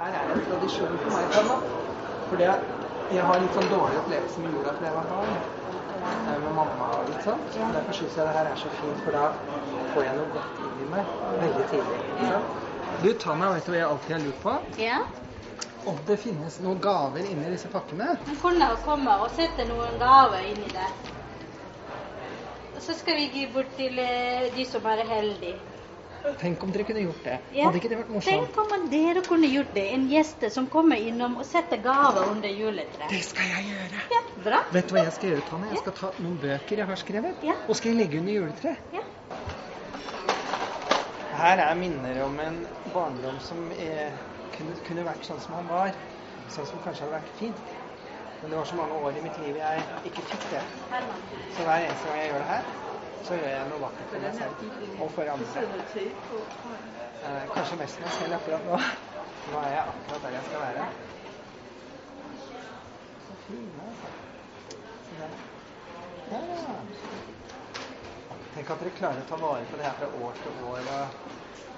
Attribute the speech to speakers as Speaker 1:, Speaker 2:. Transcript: Speaker 1: her er det en tradisjon for meg, på en måte. Fordi jeg, jeg har en litt sånn dårlig opplevelse med jula fra jeg var barn. Det er jo med mamma og litt sånt. Så derfor syns jeg det her er så fint, for da får jeg noe godt inn i meg veldig tidlig. ikke sant? Du, Tanja, vet du hva jeg alltid har lurt på?
Speaker 2: Ja.
Speaker 1: Om det finnes noen gaver inni disse pakkene?
Speaker 2: Men kunder kommer og setter noen gaver inni det. Og så skal vi gi bort til eh, de som er heldige.
Speaker 1: Tenk om dere kunne gjort det.
Speaker 2: Ja.
Speaker 1: Hadde ikke det vært morsomt?
Speaker 2: Tenk om dere kunne gjort det. En gjeste som kommer innom og setter gaver under juletreet.
Speaker 1: Det skal jeg gjøre.
Speaker 2: Ja, bra.
Speaker 1: Vet du hva jeg skal gjøre, Tanne? Jeg skal ta noen bøker jeg har skrevet,
Speaker 2: Ja.
Speaker 1: og skal jeg legge under juletreet.
Speaker 2: Ja.
Speaker 1: Her er minner om en barndom som eh, kunne, kunne vært sånn som han var. Sånn som kanskje hadde vært fint. Men det var så mange år i mitt liv jeg ikke fikk det. Så hver eneste gang jeg gjør det her, så gjør jeg noe vakkert for meg selv og for andre. Eh, kanskje mest meg selv akkurat nå. Nå er jeg akkurat der jeg skal være. Så fine, altså. Se der. Ja, ja. Tenk at dere klarer å ta vare på det her fra år til år. Og